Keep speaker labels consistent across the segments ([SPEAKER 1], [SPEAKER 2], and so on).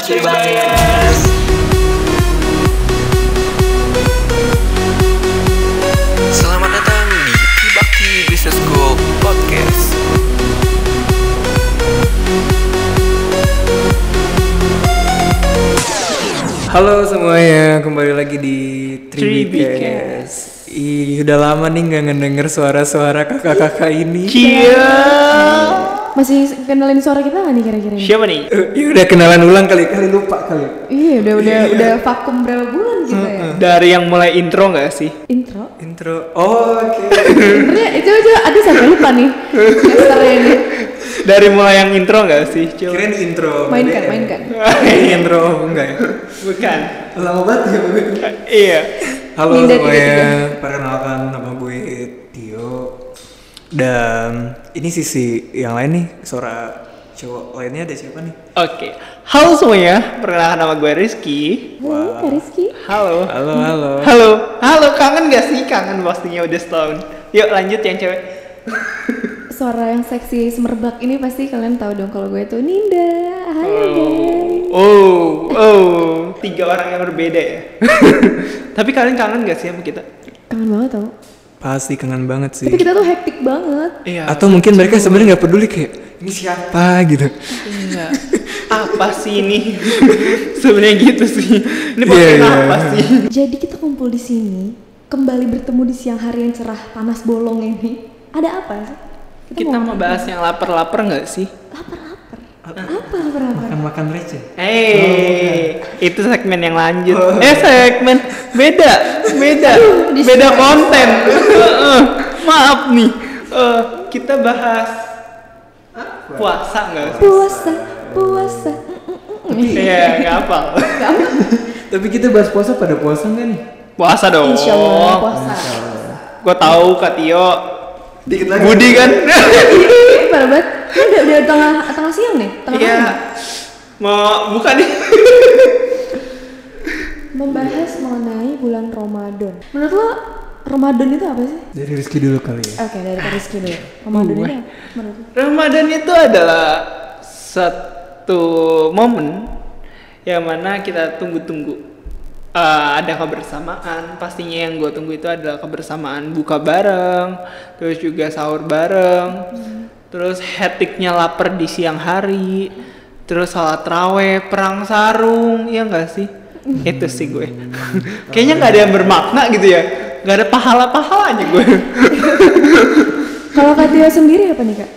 [SPEAKER 1] Cibayas.
[SPEAKER 2] Selamat datang di Kibakti Business School Podcast.
[SPEAKER 1] Halo semuanya, kembali lagi di
[SPEAKER 3] 3BKS.
[SPEAKER 1] 3BKS. Ih, udah lama nih nggak ngedenger suara-suara kakak-kakak ini.
[SPEAKER 3] Cia.
[SPEAKER 4] Masih kenalin suara kita nggak nih kira-kira? ini?
[SPEAKER 3] Siapa nih?
[SPEAKER 1] Eh, iya, udah kenalan ulang kali, kali lupa kali.
[SPEAKER 4] Iya, udah udah udah vakum berapa bulan gitu ya?
[SPEAKER 3] Dari yang mulai intro nggak sih?
[SPEAKER 4] Intro.
[SPEAKER 1] Intro. Oh, oke.
[SPEAKER 4] Sebenarnya eh, itu aja ada sampai lupa nih. Semester ini.
[SPEAKER 3] Dari mulai yang intro nggak sih? Coba.
[SPEAKER 1] Kirain intro.
[SPEAKER 4] Mainkan,
[SPEAKER 1] BDM.
[SPEAKER 4] mainkan.
[SPEAKER 1] Kirain intro oh, enggak ya?
[SPEAKER 3] Bukan.
[SPEAKER 1] Lama banget ya. gue.
[SPEAKER 3] Iya.
[SPEAKER 1] Halo
[SPEAKER 4] Minda
[SPEAKER 1] semuanya,
[SPEAKER 4] tiga-tiga.
[SPEAKER 1] perkenalkan nama gue Tio. Dan ini sisi yang lain nih, suara cowok lainnya ada siapa nih?
[SPEAKER 3] Oke. Halo semuanya. Perkenalkan nama gue Rizky.
[SPEAKER 4] Halo, Kak Rizky.
[SPEAKER 3] Halo.
[SPEAKER 1] Halo, halo.
[SPEAKER 3] Halo. Halo. Kangen nggak sih? Kangen pastinya udah setahun. Yuk lanjut yang cewek.
[SPEAKER 4] Suara yang seksi semerbak ini pasti kalian tahu dong kalau gue itu Ninda. Halo, guys.
[SPEAKER 3] Oh. Oh. Tiga orang yang berbeda ya. Tapi kalian kangen nggak sih sama kita?
[SPEAKER 4] Kangen banget tau.
[SPEAKER 1] Pasti kangen banget sih.
[SPEAKER 4] Tapi kita tuh hektik banget.
[SPEAKER 3] Iya.
[SPEAKER 1] Atau mungkin mereka sebenarnya nggak peduli kayak ini siapa gitu.
[SPEAKER 3] Iya. apa sih ini? Sebenarnya gitu sih. Ini
[SPEAKER 1] Iya,
[SPEAKER 3] podcast
[SPEAKER 1] iya.
[SPEAKER 3] apa sih?
[SPEAKER 4] Jadi kita kumpul di sini, kembali bertemu di siang hari yang cerah panas bolong ini. Ada apa?
[SPEAKER 3] Kita mau bahas yang lapar-lapar nggak sih?
[SPEAKER 4] lapar-lapar. Apa lapar-lapar?
[SPEAKER 1] makan receh.
[SPEAKER 3] Hey, Oh, itu segmen yang lanjut. Eh, segmen beda, beda,
[SPEAKER 4] di
[SPEAKER 3] beda
[SPEAKER 4] sini.
[SPEAKER 3] konten. Heeh. Maaf nih, Eh, kita bahas ah, puasa nggak sih?
[SPEAKER 4] puasa puasa
[SPEAKER 3] Iya, nggak apa.
[SPEAKER 1] Oh, Tapi kita bahas puasa pada puasa nggak nih?
[SPEAKER 3] Puasa dong.
[SPEAKER 4] insya
[SPEAKER 3] Oh.
[SPEAKER 4] Allah puasa
[SPEAKER 3] Gue tahu Kak Tio.
[SPEAKER 1] Dikit lagi.
[SPEAKER 3] Budi kan?
[SPEAKER 4] Ih, parah banget ini udah, udah tengah tengah siang nih tengah
[SPEAKER 3] Iya.
[SPEAKER 4] malam.
[SPEAKER 3] Mau buka nih?
[SPEAKER 4] membahas mengenai bulan Ramadan menurut lo Ramadan itu apa sih
[SPEAKER 1] Dari Rizky dulu kali ya.
[SPEAKER 4] oke dari Kak Rizky dulu Ramadan
[SPEAKER 3] Gue.
[SPEAKER 4] itu apa menurut lo
[SPEAKER 3] Ramadan itu adalah satu momen yang mana kita tunggu-tunggu. Eh, ada kebersamaan, pastinya yang gue tunggu itu adalah kebersamaan buka bareng, terus juga sahur bareng, terus hektiknya lapar di siang hari, terus sholat raweh, perang sarung, ya enggak sih? Itu sih gue. Kayaknya nggak ada yang bermakna gitu ya, nggak ada pahala-pahalanya gue.
[SPEAKER 4] kalau Kak Tio sendiri apa nih Kak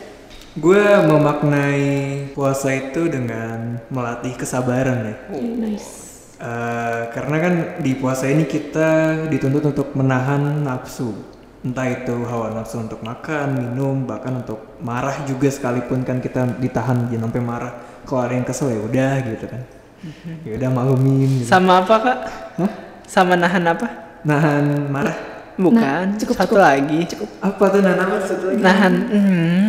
[SPEAKER 1] Gue memaknai puasa itu dengan melatih kesabaran ya.
[SPEAKER 3] Oh.
[SPEAKER 4] nice
[SPEAKER 1] Eh, karena kan di puasa ini kita dituntut untuk menahan nafsu. Entah itu hawa nafsu untuk makan, minum, bahkan untuk marah juga sekalipun kan kita ditahan jangan sampai marah. Kalau ada yang kesel ya udah gitu kan. Ya udah maklumin gitu.
[SPEAKER 3] Sama apa kak?
[SPEAKER 1] Hah?
[SPEAKER 3] Sama nahan apa?
[SPEAKER 1] Nahan marah.
[SPEAKER 3] Bukan,
[SPEAKER 4] Nah, cukup,
[SPEAKER 3] satu lagi. Cukup.
[SPEAKER 1] Apa tuh nahan apa satu lagi?
[SPEAKER 3] Nahan. Hmm.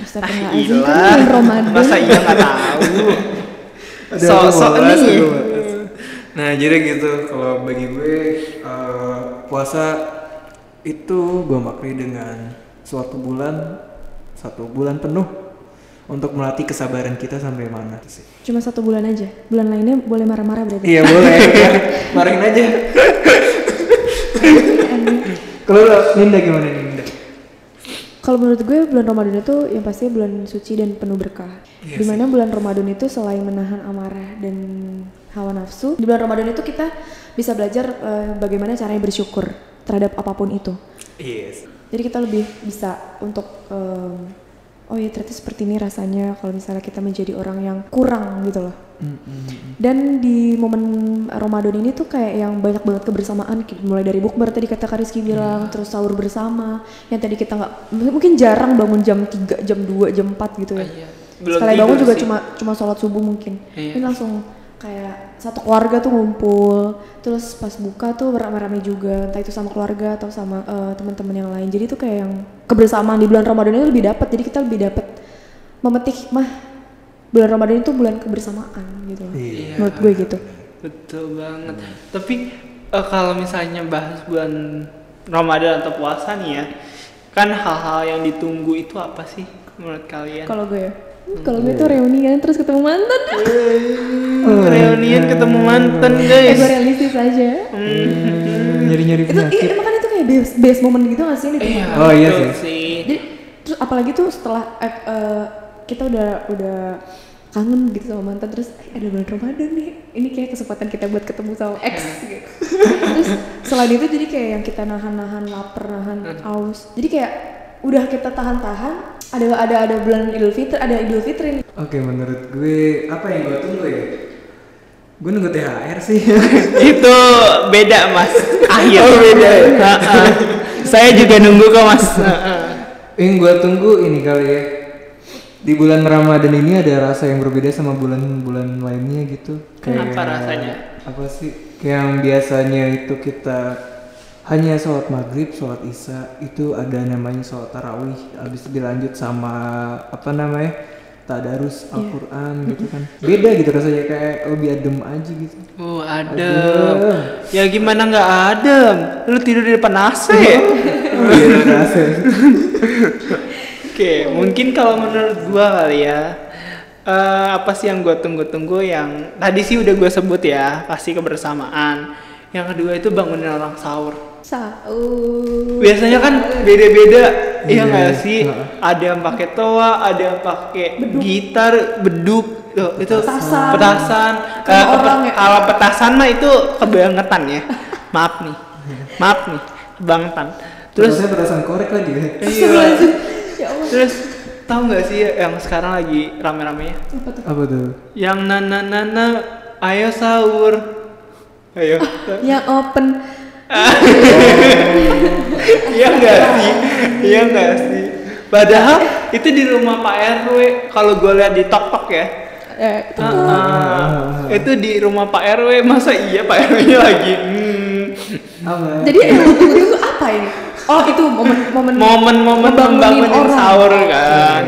[SPEAKER 4] Astagfirullahaladzim kan bulan Ramadan
[SPEAKER 3] Masa iya nggak tahu?
[SPEAKER 1] Ada apa
[SPEAKER 3] Sok-sok
[SPEAKER 1] mau bahas,
[SPEAKER 3] nih.
[SPEAKER 1] ada mau bahas. Nah jadi gitu kalau bagi gue eh, puasa itu gue maknai dengan suatu bulan satu bulan penuh untuk melatih kesabaran kita sampai mana sih?
[SPEAKER 4] cuma satu bulan aja bulan lainnya boleh marah-marah berarti
[SPEAKER 1] Iya boleh, marahin aja. Kalau lo, Ninda gimana nih Ninda?
[SPEAKER 4] Kalau menurut gue bulan Ramadan itu yang pasti bulan suci dan penuh berkah. Dimana bulan Ramadan itu selain menahan amarah dan hawa nafsu, di bulan Ramadan itu kita bisa belajar eh, bagaimana caranya bersyukur terhadap apapun itu.
[SPEAKER 1] Yes.
[SPEAKER 4] Jadi kita lebih bisa untuk em, oh ya ternyata seperti ini rasanya kalau misalnya kita menjadi orang yang kurang gitu loh.
[SPEAKER 3] Hmm,
[SPEAKER 4] Dan di momen Ramadan ini tuh kayak yang banyak banget kebersamaan ki- mulai dari bukber tadi kata Kak Rizky
[SPEAKER 3] Hmm.
[SPEAKER 4] bilang terus sahur bersama yang tadi kita nggak m- mungkin jarang bangun jam 3, jam 2, jam 4 gitu ya.
[SPEAKER 3] iya. Belum
[SPEAKER 4] Sekali bangun
[SPEAKER 3] tidur
[SPEAKER 4] juga
[SPEAKER 3] sih.
[SPEAKER 4] cuma cuma sholat subuh mungkin.
[SPEAKER 3] Iya.
[SPEAKER 4] Ini langsung kayak satu keluarga tuh ngumpul terus pas buka tuh rame-rame juga entah itu sama keluarga atau sama eh, teman-teman yang lain jadi itu kayak yang kebersamaan di bulan Ramadan itu lebih dapat jadi kita lebih dapat memetik hikmah bulan Ramadan itu bulan kebersamaan gitu loh
[SPEAKER 1] Iya.
[SPEAKER 4] menurut gue gitu
[SPEAKER 3] Betul banget. Tapi eh, kalau misalnya bahas bulan Ramadan atau
[SPEAKER 1] Iya.
[SPEAKER 3] puasa nih ya, kan hal-hal yang ditunggu itu apa sih menurut kalian?
[SPEAKER 4] kalau gue ya kalau gue tuh reunian terus ketemu mantan
[SPEAKER 1] Iya.
[SPEAKER 3] Hmm, Reunian ketemu mantan
[SPEAKER 4] eh gue
[SPEAKER 3] guys.
[SPEAKER 4] realistis aja
[SPEAKER 1] Iya. nyari nyari
[SPEAKER 4] itu
[SPEAKER 1] penyakit
[SPEAKER 4] iya makanya itu kayak best, best moment gitu gak sih yang ditemu
[SPEAKER 1] Oh, iya
[SPEAKER 3] betul
[SPEAKER 1] sih.
[SPEAKER 4] jadi terus apalagi tuh setelah eh, eh, kita udah udah kangen gitu sama mantan terus eh, ada bulan Ramadan nih ini kayak kesempatan kita buat ketemu sama ex gitu terus selain itu jadi kayak yang kita nahan-nahan lapar nahan
[SPEAKER 3] Hmm.
[SPEAKER 4] aus jadi kayak udah kita tahan-tahan ada ada ada bulan Idul Fitri ada Idul Fitri nih.
[SPEAKER 1] Oke, menurut gue apa yang gue tunggu ya? Gue nunggu THR sih.
[SPEAKER 3] Itu beda mas. Akhir. Oh beda. Saya juga nunggu kok mas. Ha-ha.
[SPEAKER 1] yang gue tunggu ini kali ya. Di bulan Ramadan ini ada rasa yang berbeda sama bulan-bulan lainnya gitu.
[SPEAKER 3] Kenapa rasanya?
[SPEAKER 1] Apa sih? Kayak yang biasanya itu kita hanya sholat maghrib, sholat isya itu ada namanya sholat tarawih. Habis itu dilanjut sama apa namanya?
[SPEAKER 3] Iya.
[SPEAKER 1] Tadarus Al-Quran gitu kan. Beda gitu rasanya kayak lebih adem aja gitu.
[SPEAKER 3] Oh adem. Ya gimana nggak adem? Lu tidur di depan AC.
[SPEAKER 1] Beda rasanya.
[SPEAKER 3] Oke, mungkin kalau menurut gua kali ya. eh, apa sih yang gua tunggu-tunggu yang tadi sih udah gua sebut ya, pasti kebersamaan. Yang kedua itu bangunin orang sahur.
[SPEAKER 4] sahur
[SPEAKER 3] Biasanya kan beda-beda, iya
[SPEAKER 1] Iya,
[SPEAKER 3] nggak
[SPEAKER 1] iya.
[SPEAKER 3] sih?
[SPEAKER 1] Heeh.
[SPEAKER 3] Ada yang pakai toa, ada yang pakai gitar, beduk, tuh, itu
[SPEAKER 4] Petasan.
[SPEAKER 3] petasan.
[SPEAKER 4] Kayak
[SPEAKER 3] Eh, kepe-
[SPEAKER 4] orang ya.
[SPEAKER 3] Kalau petasan mah itu kebangetan ya. Maaf nih, maaf nih, kebangetan.
[SPEAKER 1] Terus
[SPEAKER 3] Terus
[SPEAKER 1] saya perasan korek lagi ya.
[SPEAKER 3] Iya.
[SPEAKER 4] Astagfirullahaladzim. ya Allah
[SPEAKER 3] Terus tahu nggak sih yang sekarang lagi rame-ramenya?
[SPEAKER 4] apa tuh
[SPEAKER 1] Apa tuh?
[SPEAKER 3] Yang nana nana ayo sahur. Ayo.
[SPEAKER 4] yang Ya, open
[SPEAKER 3] Iya nggak sih? Iya nggak sih? Padahal itu di rumah Pak RW kalau gue lihat di TokTok ya.
[SPEAKER 4] eh, itu
[SPEAKER 3] Ah, ah. itu di rumah Pak RW masa iya Pak RW-nya lagi hmm,
[SPEAKER 1] Apa?
[SPEAKER 4] Jadi yang lu tunggu itu apa ini? Oh itu momen momen
[SPEAKER 3] momen-momen membangunin
[SPEAKER 4] membangunin orang. Iya,
[SPEAKER 3] sahur kan.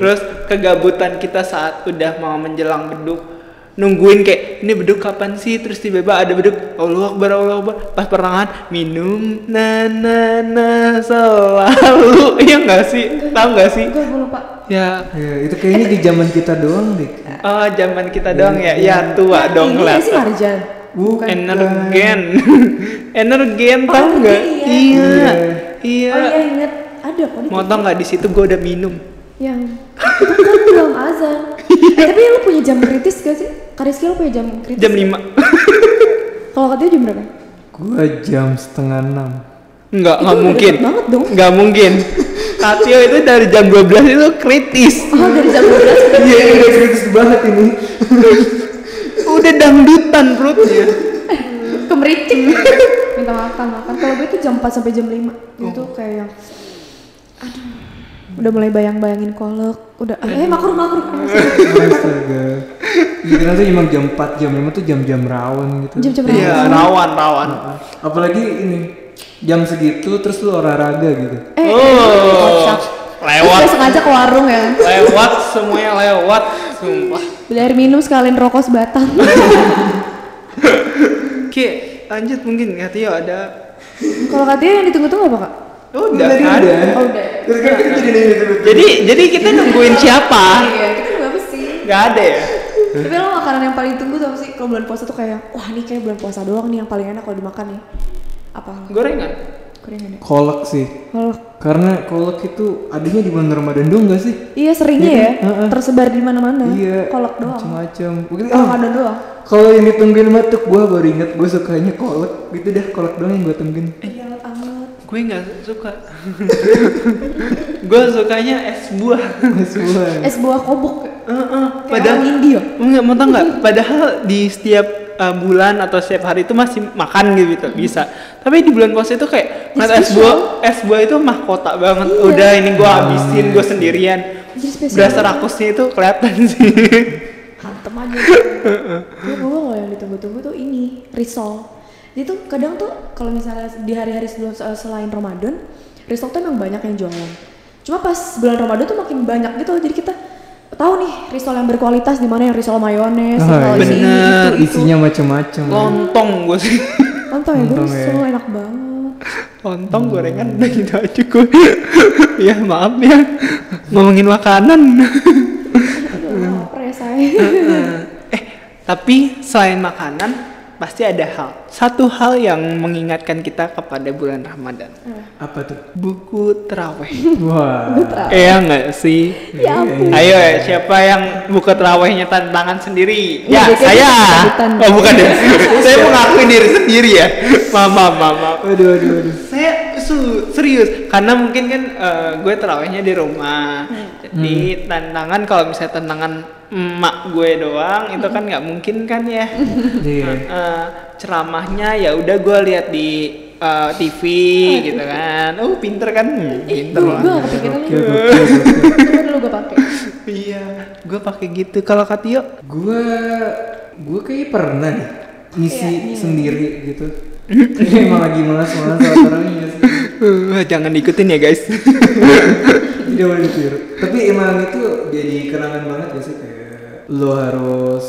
[SPEAKER 3] Terus kegabutan kita saat udah mau menjelang beduk nungguin kayak ini beduk kapan sih terus tiba-tiba ada beduk Allah Akbar Allah Akbar pas pertengahan minum na na na selalu iya nggak sih tahu nggak sih
[SPEAKER 4] Enggak gue lupa.
[SPEAKER 3] ya
[SPEAKER 1] Ya, itu kayaknya di zaman kita doang deh.
[SPEAKER 3] oh zaman kita doang ya ya tua
[SPEAKER 4] Yang
[SPEAKER 3] dong
[SPEAKER 4] ini
[SPEAKER 3] lah
[SPEAKER 4] nggak Iya. sih Marjan.
[SPEAKER 1] Bukan.
[SPEAKER 3] energen energen tahu
[SPEAKER 4] Oh,
[SPEAKER 3] nggak
[SPEAKER 4] iya.
[SPEAKER 3] iya
[SPEAKER 4] Oh iya
[SPEAKER 3] iya
[SPEAKER 4] inget ada kok di
[SPEAKER 3] mau tau nggak di situ gue udah minum
[SPEAKER 4] yang itu kan belum azan. Eh, tapi lu punya jam kritis gak sih? Kariski lu punya jam kritis?
[SPEAKER 3] Iya. jam 5
[SPEAKER 4] Kalau katanya jam berapa?
[SPEAKER 1] Gua jam setengah enam.
[SPEAKER 3] Enggak, enggak
[SPEAKER 4] Itu udah
[SPEAKER 3] mungkin.
[SPEAKER 4] deket banget dong.
[SPEAKER 3] Enggak mungkin. Katio itu dari jam 12 itu kritis.
[SPEAKER 4] Oh dari jam 12
[SPEAKER 1] Iya, ini udah kritis banget ini.
[SPEAKER 3] Udah dangdutan perutnya.
[SPEAKER 4] kemericik. Minta makan makan. Kalau gue itu jam 4 sampai jam 5
[SPEAKER 3] Oh.
[SPEAKER 4] itu kayak yang aduh udah mulai bayang-bayangin kolek udah eh makur makur
[SPEAKER 1] Astaga. Iya, karena tuh emang jam 4, jam 5 tuh jam-jam rawan gitu.
[SPEAKER 4] jam-jam
[SPEAKER 3] Iya,
[SPEAKER 4] rawan.
[SPEAKER 3] rawan, rawan.
[SPEAKER 1] Apalagi ini jam segitu terus lu olahraga gitu.
[SPEAKER 4] Eh,
[SPEAKER 3] Oh,
[SPEAKER 4] Lewat.
[SPEAKER 3] lewat,
[SPEAKER 4] sengaja ke warung ya.
[SPEAKER 3] lewat, semuanya lewat, sumpah.
[SPEAKER 4] Beli air minum sekalian rokok sebatang.
[SPEAKER 3] Oke, lanjut mungkin Katio ada.
[SPEAKER 4] Kalau katanya yang ditunggu-tunggu apa kak?
[SPEAKER 3] Udah
[SPEAKER 1] Tadi
[SPEAKER 3] kan?
[SPEAKER 1] udah.
[SPEAKER 4] Oh, udah.
[SPEAKER 1] Terus kan kita jadi nanya terus.
[SPEAKER 3] Jadi, jadi kita nungguin siapa?
[SPEAKER 4] Iya, kita juga apa sih?
[SPEAKER 3] Gak ada ya?
[SPEAKER 4] Tapi lo makanan yang paling ditunggu tuh apa sih? Kalau bulan puasa tuh kayak, wah ini kayak bulan puasa doang nih yang paling enak kalau dimakan nih. Apa?
[SPEAKER 3] Gorengan.
[SPEAKER 4] Gorengan ya?
[SPEAKER 1] Kolak sih.
[SPEAKER 4] Kalau
[SPEAKER 1] Karena kolak itu adanya di bulan Ramadan doang gak sih?
[SPEAKER 4] Iya seringnya ya,
[SPEAKER 1] Heeh.
[SPEAKER 4] tersebar di mana-mana.
[SPEAKER 1] Iya.
[SPEAKER 4] Kolak doang.
[SPEAKER 1] Macam-macam. Mungkin
[SPEAKER 4] Kalau
[SPEAKER 1] oh,
[SPEAKER 4] ada doang.
[SPEAKER 1] kalau yang ditungguin mah tuh gua baru inget gua sukanya kolak gitu dah kolak doang yang gua tungguin.
[SPEAKER 4] Iya, anget.
[SPEAKER 3] Gue nggak suka. Gue sukanya es buah.
[SPEAKER 1] Semua.
[SPEAKER 4] Es buah kobok.
[SPEAKER 3] Heeh,
[SPEAKER 4] Kayak
[SPEAKER 3] padahal
[SPEAKER 4] orang India.
[SPEAKER 3] Enggak, mau tau nggak? Padahal di setiap uh, bulan atau setiap hari itu masih makan gitu bisa. Tapi di bulan puasa itu kayak ngeliat es
[SPEAKER 4] spesial.
[SPEAKER 3] buah, es buah itu mahkota banget.
[SPEAKER 4] Iya.
[SPEAKER 3] Udah ini gua habisin, gua sendirian.
[SPEAKER 4] Jadi spesial.
[SPEAKER 3] Berasa rakusnya itu kelihatan sih.
[SPEAKER 4] hantem aja gue gue kalau yang ditunggu-tunggu tuh ini risol jadi tuh kadang tuh kalau misalnya di hari-hari sebelum se- selain Ramadan risol tuh emang banyak yang jualan cuma pas bulan Ramadan tuh makin banyak gitu jadi kita tahu nih risol yang berkualitas di mana yang risol mayones
[SPEAKER 1] Ah, iya.
[SPEAKER 4] risol isi
[SPEAKER 3] Bener.
[SPEAKER 4] itu itu
[SPEAKER 1] isinya macam-macam
[SPEAKER 3] Lontong gua sih.
[SPEAKER 4] mantap ya gue
[SPEAKER 1] Untung ya.
[SPEAKER 4] risol enak banget
[SPEAKER 3] Lontong gorengan udah gitu aja gue. ya maaf ya. Ngomongin makanan.
[SPEAKER 4] ya say
[SPEAKER 1] Ah,
[SPEAKER 3] eh tapi selain makanan pasti ada hal satu hal yang mengingatkan kita kepada bulan Ramadan
[SPEAKER 1] Apa tuh?
[SPEAKER 3] buku terawih
[SPEAKER 1] Wah.
[SPEAKER 3] iya nggak sih
[SPEAKER 4] ya ampun
[SPEAKER 3] Ayo ya, siapa yang buka terawihnya tantangan sendiri?
[SPEAKER 4] Iya,
[SPEAKER 3] Ya,
[SPEAKER 4] dia kan
[SPEAKER 3] saya.
[SPEAKER 4] bukan.
[SPEAKER 3] Oh, bukan ya. saya mengakui diri sendiri ya. Mama, mama.
[SPEAKER 1] Aduh, aduh, aduh.
[SPEAKER 3] Saya su- serius karena mungkin kan eh, gue terawihnya di rumah. Jadi tantangan kalau misalnya tantangan emak gue doang itu kan nggak mungkin kan ya.
[SPEAKER 1] Iya.
[SPEAKER 3] Eh, ceramahnya ya udah gue lihat di eh, TV gitu kan. Oh, pinter kan? Hmm,
[SPEAKER 4] ih
[SPEAKER 3] Pinter
[SPEAKER 4] gue
[SPEAKER 3] lah.
[SPEAKER 4] gak kepikiran
[SPEAKER 1] Oke, oke,
[SPEAKER 4] nih
[SPEAKER 1] oke.
[SPEAKER 4] coba dulu gue pakai
[SPEAKER 3] Iya, gue pakai gitu. Kalau Katio
[SPEAKER 1] Gua gua kayak pernah nih ngisi sendiri gitu. Kayaknya emang lagi malas-malas soal terawih ya sih.
[SPEAKER 3] Uh, jangan diikutin ya guys.
[SPEAKER 1] Tidak boleh ditiru. Tapi emang itu jadi kenangan banget gak sih kayak lo harus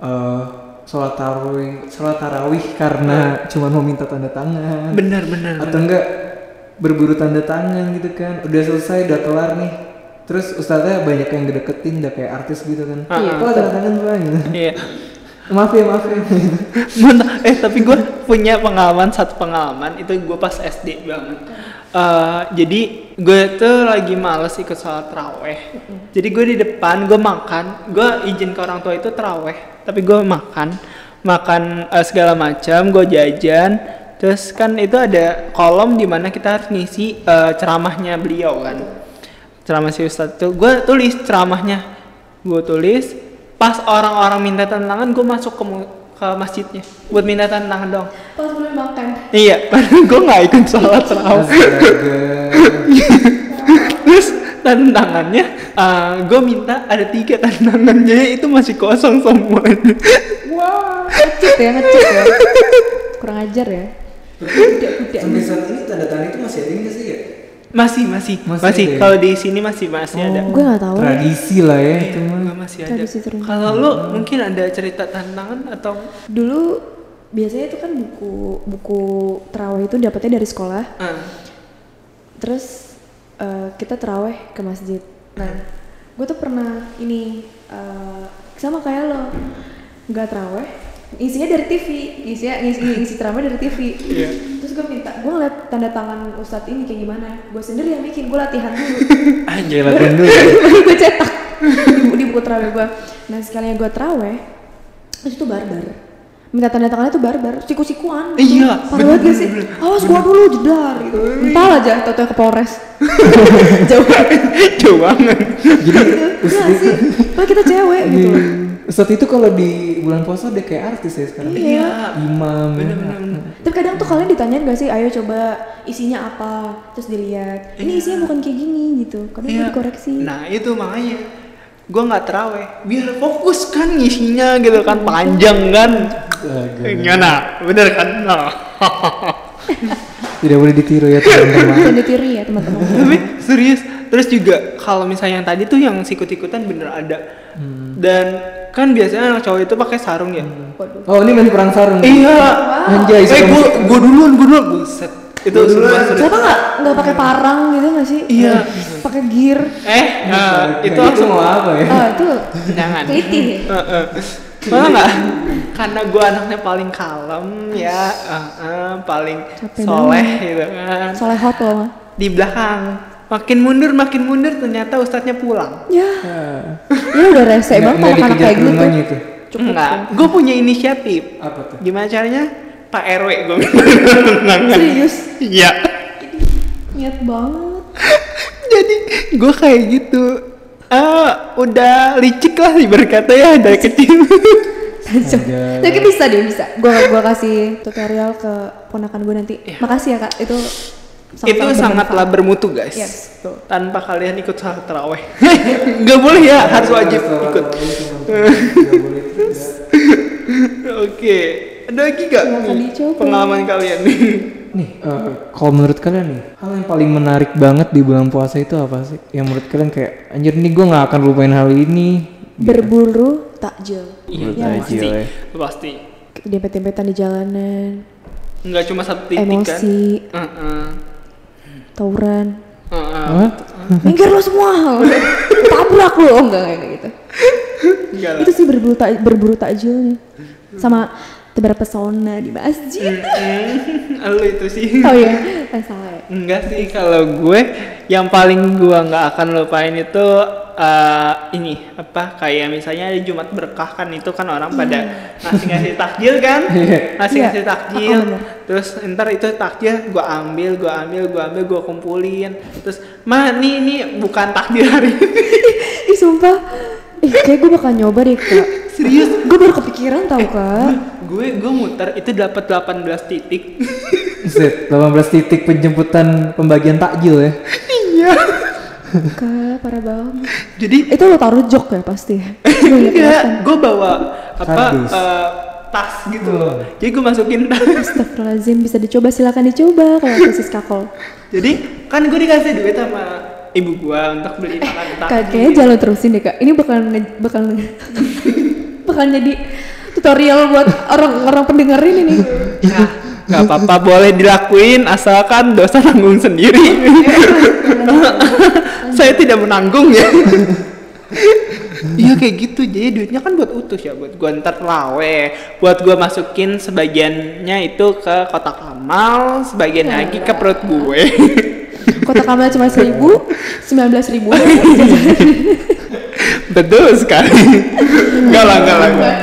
[SPEAKER 1] eh sholat tarawih, sholat tarawih karena cuma mau minta tanda tangan.
[SPEAKER 3] benar benar.
[SPEAKER 1] atau enggak berburu tanda tangan gitu kan udah selesai udah kelar nih terus ustaznya banyak yang ngedeketin udah kayak artis gitu kan
[SPEAKER 3] Iya.
[SPEAKER 1] oh tanda tangan bang gitu.
[SPEAKER 3] Iya.
[SPEAKER 1] maaf ya maaf ya gitu.
[SPEAKER 3] Mantap. Eh tapi gue punya pengalaman satu pengalaman itu gue pas SD banget. Eh, jadi gue tuh lagi males ikut sholat raweh. Jadi gue di depan gue makan, gue izin ke orang tua itu teraweh, tapi gue makan makan eh, segala macam, gue jajan. Terus kan itu ada kolom di mana kita harus ngisi eh, ceramahnya beliau kan. ceramah si Ustadz tuh gue tulis ceramahnya gue tulis pas orang-orang minta tantangan gue masuk ke mu- ke masjidnya buat minta tantangan dong
[SPEAKER 4] pas boleh makan
[SPEAKER 3] iya padahal gue nggak ikut sholat
[SPEAKER 1] Iya.
[SPEAKER 3] terawih
[SPEAKER 1] Astaga.
[SPEAKER 3] terus tantangannya gue minta ada tiga tantangan jadi itu masih kosong semuanya
[SPEAKER 4] wah ngecek ya ngecek ya kurang ajar ya tidak tidak
[SPEAKER 1] sampai saat ini tanda tangan itu masih ada nggak sih ya
[SPEAKER 3] masih masih
[SPEAKER 1] Masih
[SPEAKER 3] masih,
[SPEAKER 1] ada ya? Oh.
[SPEAKER 3] kalau di sini masih masih ada
[SPEAKER 4] gue gak tahu nih.
[SPEAKER 1] tradisi lah ya cuma
[SPEAKER 3] Nggak, masih ada
[SPEAKER 4] Tradisi terus.
[SPEAKER 3] kalau lo mungkin ada cerita tantangan atau
[SPEAKER 4] dulu biasanya itu kan buku buku terawih itu dapetnya dari sekolah
[SPEAKER 3] Ah,
[SPEAKER 4] terus eh, kita teraweh ke masjid nah gue tuh pernah ini eh, sama kayak lo nggak teraweh isinya dari TV isinya ngisi, ngisi teraweh dari TV
[SPEAKER 3] Iya.
[SPEAKER 4] terus gue minta gue ngeliat tanda tangan ustadz ini kayak gimana gue sendiri yang bikin gue latihan dulu
[SPEAKER 3] Iya.
[SPEAKER 1] anjay latihan dulu
[SPEAKER 4] baru gue cetak di, bu- di buku terawih gue nah sekalinya gue teraweh terus itu barbar minta tanda tangannya tuh barbar siku-sikuan gitu.
[SPEAKER 3] Iya,
[SPEAKER 4] parah banget gak sih awas gua dulu jedar gitu entar aja tau ke Polres jauh
[SPEAKER 3] jauh banget
[SPEAKER 1] jadi
[SPEAKER 4] Iya
[SPEAKER 3] gitu.
[SPEAKER 4] sih padahal kita cewek
[SPEAKER 3] Iya.
[SPEAKER 4] gitu
[SPEAKER 1] di- Ustadz itu kalau di bulan puasa udah kayak artis ya sekarang
[SPEAKER 4] iya
[SPEAKER 1] imam ya.
[SPEAKER 3] bener-bener
[SPEAKER 4] tapi kadang tuh kalian ditanyain gak sih ayo coba isinya apa terus dilihat ini isinya bukan kayak gini gitu kadang gua
[SPEAKER 3] Iya.
[SPEAKER 4] dikoreksi
[SPEAKER 3] Nah itu makanya gue nggak teraweh biar fokus kan ngisinya gitu kan panjang kan.
[SPEAKER 1] Astaga.
[SPEAKER 3] Gimana? Bener kan? Nah.
[SPEAKER 1] tidak boleh ditiru ya teman-teman
[SPEAKER 4] dan ditiri ya teman-teman
[SPEAKER 3] Tapi serius. Terus juga kalau misalnya yang tadi tuh yang sikut-ikutan bener ada. Dan kan biasanya anak cowok itu pakai sarung ya.
[SPEAKER 4] waduh
[SPEAKER 1] oh ini main perang sarung
[SPEAKER 3] Iya.
[SPEAKER 1] anjay
[SPEAKER 3] Eh
[SPEAKER 1] suka
[SPEAKER 3] gue gue duluan gue duluan buset. Itu
[SPEAKER 1] Gua duluan.
[SPEAKER 3] sumpah, serius.
[SPEAKER 4] Kenapa nggak nggak pakai parang gitu nggak sih?
[SPEAKER 3] Iya.
[SPEAKER 4] Pakai gear.
[SPEAKER 3] Eh eh,
[SPEAKER 1] Nah,
[SPEAKER 3] itu langsung
[SPEAKER 1] mau apa ya?
[SPEAKER 4] Ah itu
[SPEAKER 3] jangan.
[SPEAKER 4] keliti ya.
[SPEAKER 3] Heeh. Malah
[SPEAKER 4] Iya.
[SPEAKER 3] nggak? Karena gue anaknya paling kalem ya, heeh, paling
[SPEAKER 4] Capek
[SPEAKER 3] soleh gitu kan.
[SPEAKER 4] Soalnya hot loh. Ma.
[SPEAKER 3] Di belakang, makin mundur makin mundur ternyata ustadznya pulang.
[SPEAKER 4] Ya,
[SPEAKER 1] Ah.
[SPEAKER 4] ya udah rese
[SPEAKER 1] Nggak-
[SPEAKER 4] banget
[SPEAKER 1] nggak
[SPEAKER 4] anak-anak
[SPEAKER 1] dikejar
[SPEAKER 4] kayak gitu.
[SPEAKER 1] gelombangnya itu.
[SPEAKER 4] Cukup.
[SPEAKER 3] Enggak, gue punya inisiatif.
[SPEAKER 1] Apa tuh?
[SPEAKER 3] Gimana caranya? Pak RW gue.
[SPEAKER 4] Serius,
[SPEAKER 3] Iya.
[SPEAKER 4] niat banget.
[SPEAKER 3] Jadi gue kayak gitu. Ah, udah licik lah ibarat kata ya dari kecil.
[SPEAKER 1] Astaga.
[SPEAKER 4] Tapi bisa deh bisa. Gua gua kasih tutorial ke ponakan gue nanti. Makasih ya kak. Itu
[SPEAKER 3] itu sangatlah
[SPEAKER 4] bermanfaat.
[SPEAKER 3] bermutu guys.
[SPEAKER 4] Yes, betul.
[SPEAKER 3] tanpa kalian ikut sholat terawih nggak boleh ya harus
[SPEAKER 1] iya,
[SPEAKER 3] wajib ikut
[SPEAKER 1] Nggak boleh, tidak.
[SPEAKER 3] oke ada lagi gak
[SPEAKER 4] Silakan dicoba.
[SPEAKER 3] pengalaman kalian nih
[SPEAKER 1] Nih, eh, kalau menurut kalian nih, hal yang paling menarik banget di bulan puasa itu apa sih? Yang menurut kalian kayak, anjir nih gue gak akan lupain hal ini.
[SPEAKER 4] Berburu takjil.
[SPEAKER 1] Iya,
[SPEAKER 3] pasti
[SPEAKER 1] iya.
[SPEAKER 3] pasti
[SPEAKER 4] Dempet-dempetan di jalanan,
[SPEAKER 3] nggak cuma satu titik kan
[SPEAKER 4] emosi,
[SPEAKER 3] Heeh.
[SPEAKER 4] tawuran.
[SPEAKER 3] Heeh.
[SPEAKER 1] Hah?
[SPEAKER 4] Minggir lo semua. Tabrak lo enggak kayak gitu.
[SPEAKER 3] Enggak lah.
[SPEAKER 4] itu sih berburu tak berburu takjilnya sama tebar pesona di masjid
[SPEAKER 3] Mm, Lu itu sih.
[SPEAKER 4] oh iya eh, salah ya
[SPEAKER 3] Enggak sih kalau gue yang paling gue nggak akan lupain itu eh, ini apa kayak misalnya di Jumat berkah kan itu kan orang pada ngasih ngasih takjil kan ngasih ngasih
[SPEAKER 4] Iya.
[SPEAKER 3] takjil
[SPEAKER 4] Oh, bener.
[SPEAKER 3] terus ntar itu takjil gue ambil gue ambil gue ambil gue kumpulin terus mah nih ini bukan takjil hari ini
[SPEAKER 4] ih sumpah ih kayak gue bakal nyoba deh kak
[SPEAKER 3] serius
[SPEAKER 4] gue baru kepikiran tau kak
[SPEAKER 3] gue gue muter itu dapat 18 titik
[SPEAKER 1] Zed, 18 titik penjemputan pembagian takjil ya.
[SPEAKER 4] kak parah banget
[SPEAKER 3] jadi
[SPEAKER 4] itu lo taruh jok ya pasti Gua liat ya.
[SPEAKER 3] enggak
[SPEAKER 4] kelihatan.
[SPEAKER 3] gue bawa apa
[SPEAKER 1] Kardus.
[SPEAKER 3] eh, tas gitu loh
[SPEAKER 4] Hmm.
[SPEAKER 3] jadi gue masukin tas
[SPEAKER 4] Astagfirullahaladzim bisa dicoba silakan dicoba kalau ke Siskakol
[SPEAKER 3] Jadi kan gue dikasih duit sama ibu gua untuk beli makan
[SPEAKER 4] Kak, kayaknya jalan terusin deh kak. Ini bakal nge- bakal nge- bakal jadi tutorial buat orang-orang pendengar ini nih.
[SPEAKER 3] Nah, nggak apa-apa boleh dilakuin asalkan dosa nanggung sendiri. Saya tidak menanggung ya. Iya kayak gitu, jadi duitnya kan buat utuh ya, buat gua ntar lawe, buat gua masukin sebagiannya itu ke kotak amal, sebagian lagi ke perut gue.
[SPEAKER 4] Kota kamar cuma seribu, sembilan belas ribu.
[SPEAKER 3] Iya. Betul sekali. Enggak lah, enggak lah. enggak.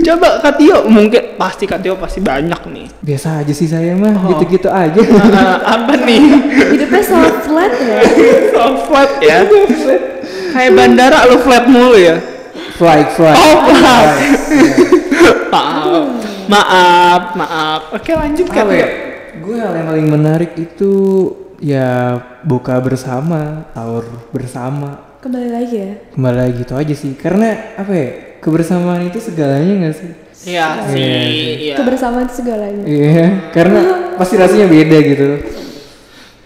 [SPEAKER 3] Coba Katio mungkin pasti Katio pasti banyak nih.
[SPEAKER 1] Biasa aja sih saya mah,
[SPEAKER 3] Oh.
[SPEAKER 1] gitu-gitu aja.
[SPEAKER 3] Ah, apa nih?
[SPEAKER 4] Hidupnya sangat flat ya.
[SPEAKER 3] So flat ya. Kayak bandara lu flat mulu ya.
[SPEAKER 1] Fly, fly.
[SPEAKER 3] Oh, flat. maaf. Maaf, maaf. Oke, lanjut
[SPEAKER 1] Apa ya?
[SPEAKER 3] Katio.
[SPEAKER 1] Gue hal yang paling menarik itu ya buka bersama, taur bersama.
[SPEAKER 4] Kembali lagi ya.
[SPEAKER 1] Kembali lagi itu aja sih. Karena apa ya? Kebersamaan itu segalanya gak sih?
[SPEAKER 3] Iya sih, iya.
[SPEAKER 4] Kebersamaan itu segalanya.
[SPEAKER 1] Iya, karena pasti rasanya beda gitu.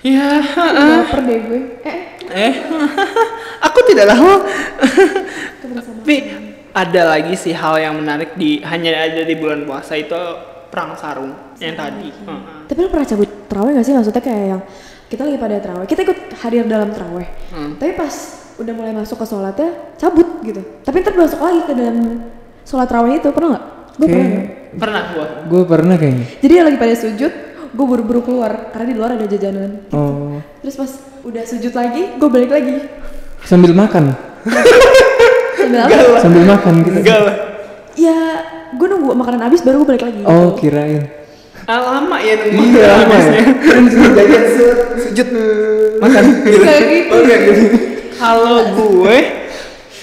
[SPEAKER 3] Iya.
[SPEAKER 4] Laper deh gue. Ah. Eh,
[SPEAKER 3] Eh, aku tidak tahu. Tapi ada lagi sih hal yang menarik di hanya ada di bulan puasa itu perang sarung yang tadi. Heeh.
[SPEAKER 4] tapi lo pernah cabut terawih gak sih? Maksudnya kayak yang kita lagi pada terawih, kita ikut hadir dalam terawih. Tapi pas udah mulai masuk ke sholatnya, cabut gitu. Tapi ntar masuk lagi ke dalam sholat terawih itu pernah nggak? Gue pernah.
[SPEAKER 1] Kayak
[SPEAKER 4] nggak?
[SPEAKER 3] Pernah gua.
[SPEAKER 1] gue pernah kayaknya.
[SPEAKER 4] Jadi yang lagi pada sujud, gue buru-buru keluar karena di luar ada jajanan.
[SPEAKER 1] Oh,
[SPEAKER 4] Terus pas udah sujud lagi, gue balik lagi.
[SPEAKER 1] sambil makan,
[SPEAKER 4] Sambil apa?
[SPEAKER 1] sambil makan gitu.
[SPEAKER 3] Enggak lah.
[SPEAKER 4] Ya, gue nunggu makanan habis baru gue balik lagi.
[SPEAKER 1] Oh,
[SPEAKER 4] gitu.
[SPEAKER 1] kirain.
[SPEAKER 3] Ah, lama ya nunggu.
[SPEAKER 1] lama ya. Jajan se- sujud makan.
[SPEAKER 4] Kayak gitu.
[SPEAKER 3] Kalau gue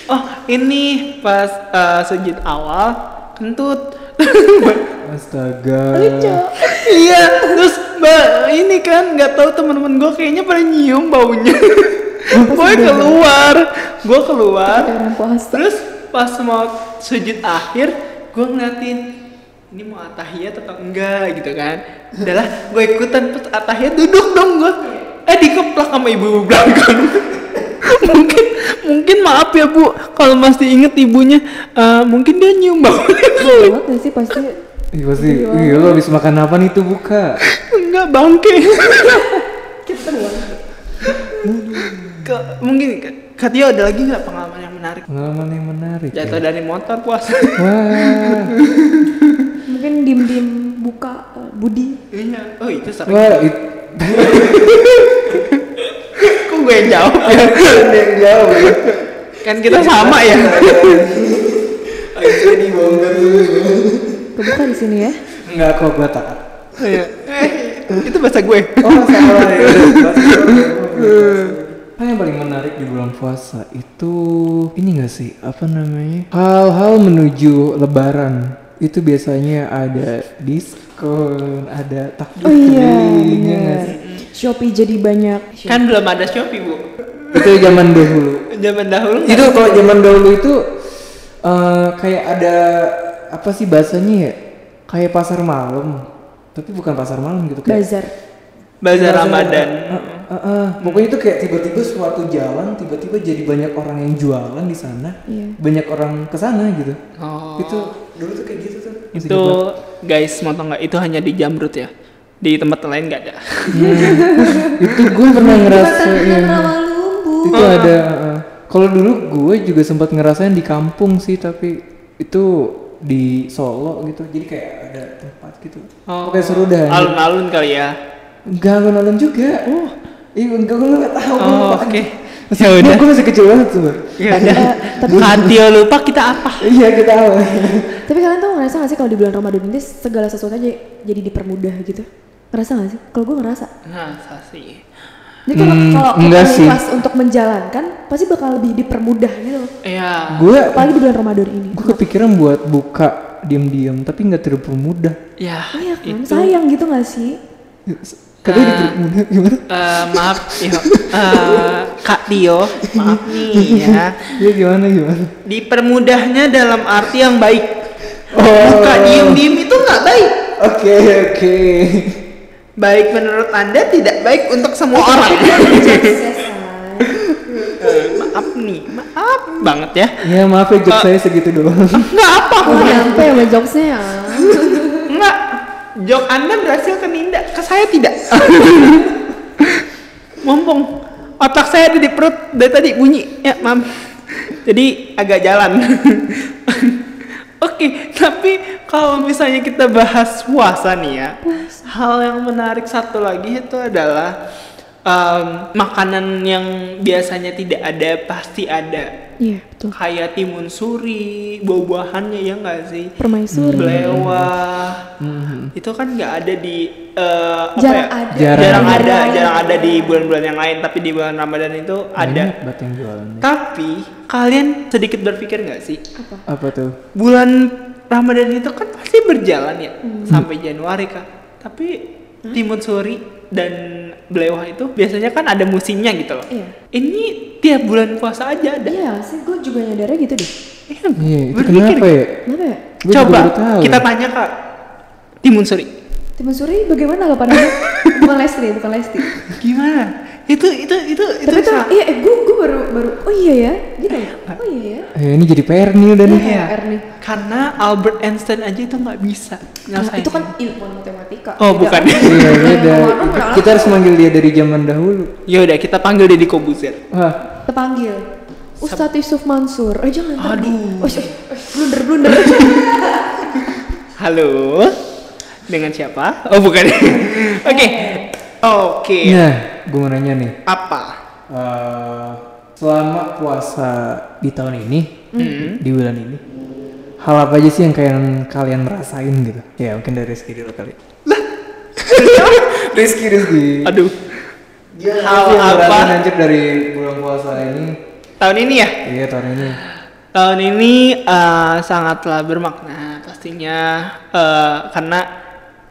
[SPEAKER 3] Oh, ini pas eh, sujud awal kentut.
[SPEAKER 1] Astaga.
[SPEAKER 4] Lucu.
[SPEAKER 3] iya, terus mbak ini kan nggak tahu teman-teman gue kayaknya pada nyium baunya. gue keluar, gue keluar.
[SPEAKER 4] Kayak orang puasa.
[SPEAKER 3] Terus pas mau sujud akhir, gue ngeliatin ini mau atahiyat atau enggak gitu kan. Adalah gue ikutan pas atahiyat duduk dong gue. Eh dikeplak sama ibu belakang. mungkin mungkin maaf ya bu kalau masih inget ibunya eh, mungkin dia nyium baunya kali.
[SPEAKER 4] Banget gak sih pasti?
[SPEAKER 1] Ih, pasti, iya lo habis makan apa nih tuh buka?
[SPEAKER 3] enggak bangke
[SPEAKER 4] Kita doang.
[SPEAKER 3] Ke- mungkin Ka- Katio ada lagi nggak pengalaman yang menarik
[SPEAKER 1] Pengalaman yang menarik.
[SPEAKER 3] jatuh
[SPEAKER 1] ya.
[SPEAKER 3] dari motor puasa
[SPEAKER 1] Wah,
[SPEAKER 4] Mungkin diem-diem buka eh, budi.
[SPEAKER 3] iya oh itu sering
[SPEAKER 1] wah, itu
[SPEAKER 3] kok gue yang jawab ya
[SPEAKER 1] yang jauh.
[SPEAKER 3] kan kita sama ya
[SPEAKER 1] Jadi bongkar
[SPEAKER 4] Kebuka di sini ya.
[SPEAKER 1] Enggak kok gue taat.
[SPEAKER 3] Iya. eh, itu bahasa gue
[SPEAKER 1] Oh, salah ya. Apa yang paling menarik di bulan puasa itu ini gak sih apa namanya hal-hal menuju Lebaran itu biasanya ada diskon, ada takjil
[SPEAKER 4] Oh iya,
[SPEAKER 1] keliling, ya nggak
[SPEAKER 4] bener.
[SPEAKER 1] sih?
[SPEAKER 4] Shopee jadi banyak.
[SPEAKER 3] kan belum ada shopee bu
[SPEAKER 1] Itu zaman dahulu.
[SPEAKER 3] zaman dahulu nggak?
[SPEAKER 1] Itu kalau zaman dahulu itu eh, kayak ada apa sih bahasanya ya? Kayak pasar malam. Tapi bukan pasar malam gitu kayak
[SPEAKER 4] Bazar.
[SPEAKER 3] bazar
[SPEAKER 1] Bazar-
[SPEAKER 3] Iya, ramadan Hmm.
[SPEAKER 1] Eh, eh, eh. Pokoknya itu kayak tiba-tiba suatu jalan tiba-tiba jadi banyak orang yang jualan di sana,
[SPEAKER 4] Iya.
[SPEAKER 1] banyak orang ke sana gitu.
[SPEAKER 3] oh
[SPEAKER 1] Itu dulu tuh kayak gitu tuh.
[SPEAKER 3] itu
[SPEAKER 1] Masih dibuat.
[SPEAKER 3] guys mau tau nggak itu hanya di jamrut ya di tempat lain nggak ada
[SPEAKER 1] itu gue pernah iya. ngerasain.
[SPEAKER 4] Pertanyaan rawa lumbu.
[SPEAKER 3] Ah.
[SPEAKER 1] itu ada eh, eh. Kalau dulu gue juga sempat ngerasain di kampung sih, tapi itu di Solo gitu. Jadi kayak ada tempat gitu.
[SPEAKER 3] Oh.
[SPEAKER 1] Oke seru
[SPEAKER 3] Iya.
[SPEAKER 1] dah. anjing.
[SPEAKER 3] Alun-alun kali ya.
[SPEAKER 1] Enggak gue nonton juga. Oh, iya enggak gue nggak tahu.
[SPEAKER 3] Oh,
[SPEAKER 1] gue lupa.
[SPEAKER 3] oke.
[SPEAKER 1] Masih,
[SPEAKER 3] Ya udah.
[SPEAKER 1] Gue masih kecil banget tuh.
[SPEAKER 3] Ya
[SPEAKER 4] Ada,
[SPEAKER 3] udah.
[SPEAKER 4] tapi-
[SPEAKER 3] Katio lupa kita apa?
[SPEAKER 1] Iya kita tahu.
[SPEAKER 4] Tapi kalian tuh ngerasa gak sih kalau di bulan Ramadan ini segala sesuatu aja jadi dipermudah gitu? Ngerasa gak sih? Kalau gue ngerasa.
[SPEAKER 3] Nah, sih.
[SPEAKER 4] Jadi kalau
[SPEAKER 1] Hmm,
[SPEAKER 4] kalau kita
[SPEAKER 1] enggak sih.
[SPEAKER 4] ikhlas untuk menjalankan pasti bakal lebih dipermudah gitu. loh.
[SPEAKER 3] Ya.
[SPEAKER 1] Gue
[SPEAKER 4] Apalagi di bulan Ramadan ini.
[SPEAKER 1] gue kepikiran buat buka diam-diam, tapi nggak terpermudah.
[SPEAKER 3] Ya.
[SPEAKER 4] Iya kan? Sayang gitu gak sih?
[SPEAKER 1] Katanya
[SPEAKER 3] Ah.
[SPEAKER 1] dipermudah gimana?
[SPEAKER 3] Eh, maaf, yo. Eh, Kak Tio, maaf nih ya.
[SPEAKER 1] Iya gimana gimana?
[SPEAKER 3] Dipermudahnya dalam arti yang baik.
[SPEAKER 1] Oh.
[SPEAKER 3] Buka diem-diem itu nggak baik.
[SPEAKER 1] Oke oke.
[SPEAKER 3] Baik menurut Anda tidak baik untuk semua orang. Iya, maaf nih, maaf banget ya.
[SPEAKER 1] Ya maaf ya job
[SPEAKER 3] Ah.
[SPEAKER 1] saya segitu doang.
[SPEAKER 3] Nggak apa
[SPEAKER 4] Oh, nyampe sama jokesnya ya.
[SPEAKER 3] Nggak. Jok Anda berhasil ke Ninda, ke saya tidak. Mumpung otak saya ada di perut dari tadi bunyi ya mam. Jadi agak jalan. Oke, tapi kalau misalnya kita bahas puasa nih ya, hal yang menarik satu lagi itu adalah em, makanan yang biasanya tidak ada pasti ada.
[SPEAKER 4] Iya, betul.
[SPEAKER 3] Kayak timun suri, buah-buahannya ya nggak sih?
[SPEAKER 4] Permaisuri.
[SPEAKER 3] Belewah. Itu kan nggak ada di eh, apa
[SPEAKER 4] Jarang
[SPEAKER 3] ya?
[SPEAKER 4] ada.
[SPEAKER 1] Jarang
[SPEAKER 3] Jarang,
[SPEAKER 1] ada.
[SPEAKER 3] ada, jarang ada di bulan-bulan yang lain, tapi di bulan Ramadan itu ada.
[SPEAKER 1] Banyak banget yang jualan.
[SPEAKER 3] Tapi kalian sedikit berpikir nggak sih?
[SPEAKER 1] Apa tuh?
[SPEAKER 3] Bulan Ramadan itu kan pasti berjalan ya
[SPEAKER 4] Hmm.
[SPEAKER 3] sampai Januari kak. Tapi timun suri dan belewah itu biasanya kan ada musimnya gitu loh.
[SPEAKER 4] Iya.
[SPEAKER 3] Ini tiap bulan puasa aja ada.
[SPEAKER 4] Iya sih, gue juga nyadarnya gitu deh.
[SPEAKER 3] Iya,
[SPEAKER 1] Iya, itu
[SPEAKER 3] berpikir
[SPEAKER 1] kenapa ya?
[SPEAKER 4] Kenapa ya?
[SPEAKER 1] Gua juga
[SPEAKER 3] Coba
[SPEAKER 1] baru tahu.
[SPEAKER 3] kita tanya kak timun suri.
[SPEAKER 4] Timun Suri bagaimana lo pandangnya? bukan Lesti, bukan Lesti.
[SPEAKER 3] Gimana? Itu itu itu
[SPEAKER 4] Tapi
[SPEAKER 3] itu
[SPEAKER 4] tuh,
[SPEAKER 3] sa-
[SPEAKER 4] iya, eh, gue gue baru baru, oh iya ya, gitu. ya? Oh iya ya.
[SPEAKER 1] Eh, ini jadi PR nih udah nih.
[SPEAKER 4] Iya. PR nih.
[SPEAKER 3] Karena Albert Einstein aja itu nggak bisa
[SPEAKER 4] Nah,
[SPEAKER 3] nyelesain.
[SPEAKER 4] itu kan ilmuwan matematika.
[SPEAKER 3] Oh, bukan.
[SPEAKER 1] Iya, beda.
[SPEAKER 4] Orang orang
[SPEAKER 1] Kita harus manggil dia dari zaman dahulu.
[SPEAKER 3] Yaudah Ya kita panggil Deddy Kobuzer.
[SPEAKER 1] Wah,
[SPEAKER 4] Terpanggil. Ustadz Yusuf Mansur. Eh jangan. ntar
[SPEAKER 3] Aduh.
[SPEAKER 4] di- Oh, eh, eh, blunder blunder.
[SPEAKER 3] Halo, dengan siapa? Oh bukan. Oke, oke.
[SPEAKER 1] nah, gue mau nanya nih.
[SPEAKER 3] Apa?
[SPEAKER 1] Eh, selama puasa di tahun ini, di bulan ini, hal apa aja sih yang kalian kalian rasain gitu? Ya mungkin dari Rizky dulu kali. Rizky, Rizky.
[SPEAKER 3] Aduh,
[SPEAKER 1] Hal
[SPEAKER 3] hal
[SPEAKER 1] apa?
[SPEAKER 3] apa?
[SPEAKER 1] Lanjut dari bulan puasa ini,
[SPEAKER 3] Tahun ini ya?
[SPEAKER 1] iya tahun ini.
[SPEAKER 3] Tahun ini eh, sangatlah bermakna pastinya eh, karena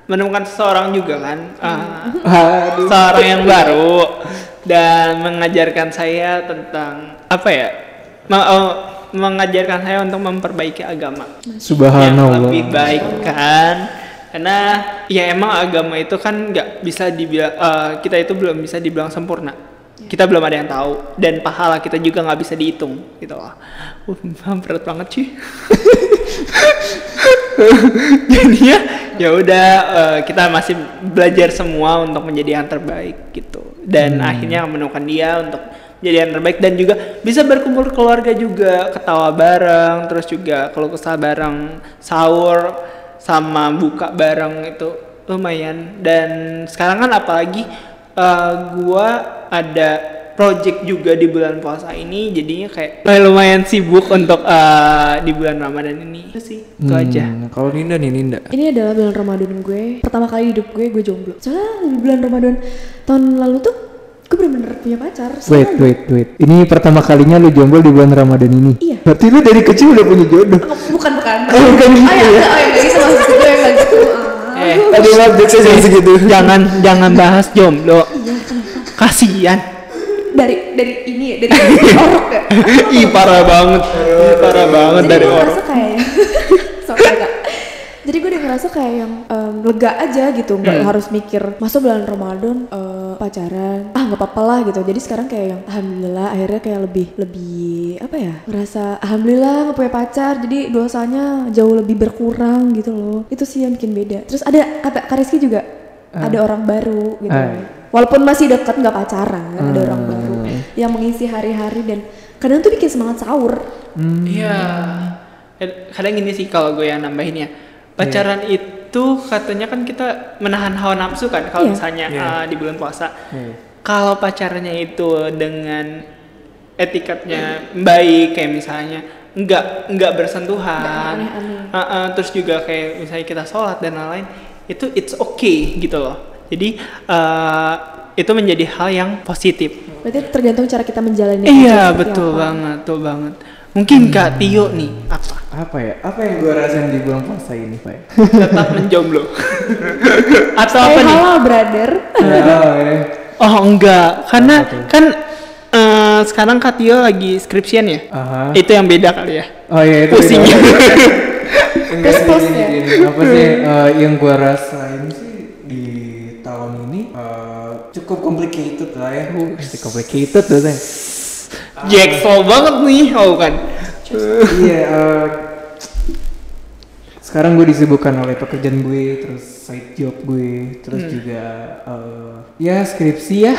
[SPEAKER 3] menemukan seseorang juga kan. eh,
[SPEAKER 1] Aduh.
[SPEAKER 3] seorang yang baru dan mengajarkan saya tentang apa ya Ma- oh, mengajarkan saya untuk memperbaiki agama yang
[SPEAKER 1] Subhanallah.
[SPEAKER 3] lebih baik kan karena ya emang agama itu kan nggak bisa dibilang eh, kita itu belum bisa dibilang sempurna kita belum ada yang tahu dan pahala kita juga nggak bisa dihitung gitu loh uh, berat banget sih jadinya ya udah eh, kita masih belajar semua untuk menjadi yang terbaik gitu dan akhirnya menemukan dia untuk menjadi yang terbaik dan juga bisa berkumpul keluarga juga ketawa bareng terus juga kalau kesah bareng sahur sama buka bareng itu lumayan dan sekarang kan apalagi eh, gua ada project juga di bulan puasa ini jadinya kayak lumayan sibuk untuk eh, di bulan Ramadan ini itu sih itu aja
[SPEAKER 1] Hmm, Kalau Ninda nih Ninda.
[SPEAKER 4] Ini adalah bulan Ramadan gue. Pertama kali hidup gue gue jomblo. Soalnya di bulan Ramadan tahun lalu tuh gue bener-bener punya pacar.
[SPEAKER 1] Wait,
[SPEAKER 4] Soalnya-
[SPEAKER 1] wait, wait. Ini pertama kalinya lu jomblo di bulan Ramadan ini.
[SPEAKER 4] Iya.
[SPEAKER 1] Berarti lu dari kecil udah punya jodoh.
[SPEAKER 4] Oh, bukan bukan.
[SPEAKER 1] Oh, bukan gitu
[SPEAKER 4] Oh,
[SPEAKER 1] ya?
[SPEAKER 4] ya, oh, ya, nggak gitu maksud gue nggak gitu. Ah.
[SPEAKER 3] Eh,
[SPEAKER 1] Tadi lah saya jangan segitu.
[SPEAKER 3] jangan jangan bahas jomblo. Kasihan.
[SPEAKER 4] Dari dari ini ya, dari orok ya.
[SPEAKER 3] Ih parah banget. Ih, parah banget
[SPEAKER 4] Jadi
[SPEAKER 3] dari
[SPEAKER 4] gue
[SPEAKER 3] orang.
[SPEAKER 4] ngerasa kayak Sorry, Kak. Jadi gue udah ngerasa kayak yang em, lega aja gitu, nggak
[SPEAKER 3] Hmm.
[SPEAKER 4] harus mikir masuk bulan Ramadan eh, pacaran, ah nggak apa-apa lah gitu. Jadi sekarang kayak yang alhamdulillah akhirnya kayak lebih lebih apa ya ngerasa alhamdulillah nggak punya pacar, jadi dosanya jauh lebih berkurang gitu loh. Itu sih yang bikin beda. Terus ada kata Kariski juga
[SPEAKER 3] Ah.
[SPEAKER 4] ada orang baru gitu.
[SPEAKER 1] Eh.
[SPEAKER 3] Ah.
[SPEAKER 4] Walaupun masih deket nggak pacaran, ada orang baru yang mengisi hari-hari dan kadang tuh bikin semangat sahur
[SPEAKER 3] Iya. Kad- Kadang gini sih kalau gue yang nambahin ya. Pacaran itu katanya kan kita menahan hawa nafsu kan kalau
[SPEAKER 4] Iya.
[SPEAKER 3] misalnya
[SPEAKER 1] Iya.
[SPEAKER 3] uh, di bulan puasa.
[SPEAKER 1] Iya.
[SPEAKER 3] Kalau pacarannya itu dengan etikatnya baik kayak misalnya nggak nggak bersentuhan,
[SPEAKER 4] Nggak aneh-aneh.
[SPEAKER 3] Uh, uh, terus juga kayak misalnya kita sholat dan lain-lain itu it's okay gitu loh. Jadi uh, itu menjadi hal yang positif.
[SPEAKER 4] berarti tergantung cara kita menjalani
[SPEAKER 3] Iya
[SPEAKER 4] aja seperti
[SPEAKER 3] betul
[SPEAKER 4] apa.
[SPEAKER 3] banget, betul banget. Mungkin Kak Tio nih apa?
[SPEAKER 1] Apa ya? Apa yang gue rasain di bulan puasa ini, Pak?
[SPEAKER 3] Tetap menjomblo. Atau
[SPEAKER 4] eh
[SPEAKER 3] apa nih?
[SPEAKER 4] halal brother
[SPEAKER 1] oh, ya.
[SPEAKER 3] Oh enggak, karena
[SPEAKER 1] Apa tuh?
[SPEAKER 3] kan eh, sekarang Kak Tio lagi skripsian ya.
[SPEAKER 1] Aha.
[SPEAKER 3] Itu yang beda kali ya.
[SPEAKER 1] Oh iya itu
[SPEAKER 3] Pusing.
[SPEAKER 1] beda. Enggak sih,
[SPEAKER 4] Terus-terus
[SPEAKER 1] gini,
[SPEAKER 4] ya?
[SPEAKER 1] gini. Apa sih eh, yang gua rasain sih di tahun ini eh, cukup complicated lah ya. Cukup complicated tuh Zeng.
[SPEAKER 3] Jackson banget nih, oh kan.
[SPEAKER 1] Iya. eh, sekarang gue disibukkan oleh pekerjaan gue, terus side job gue, terus juga eh, ya skripsi ya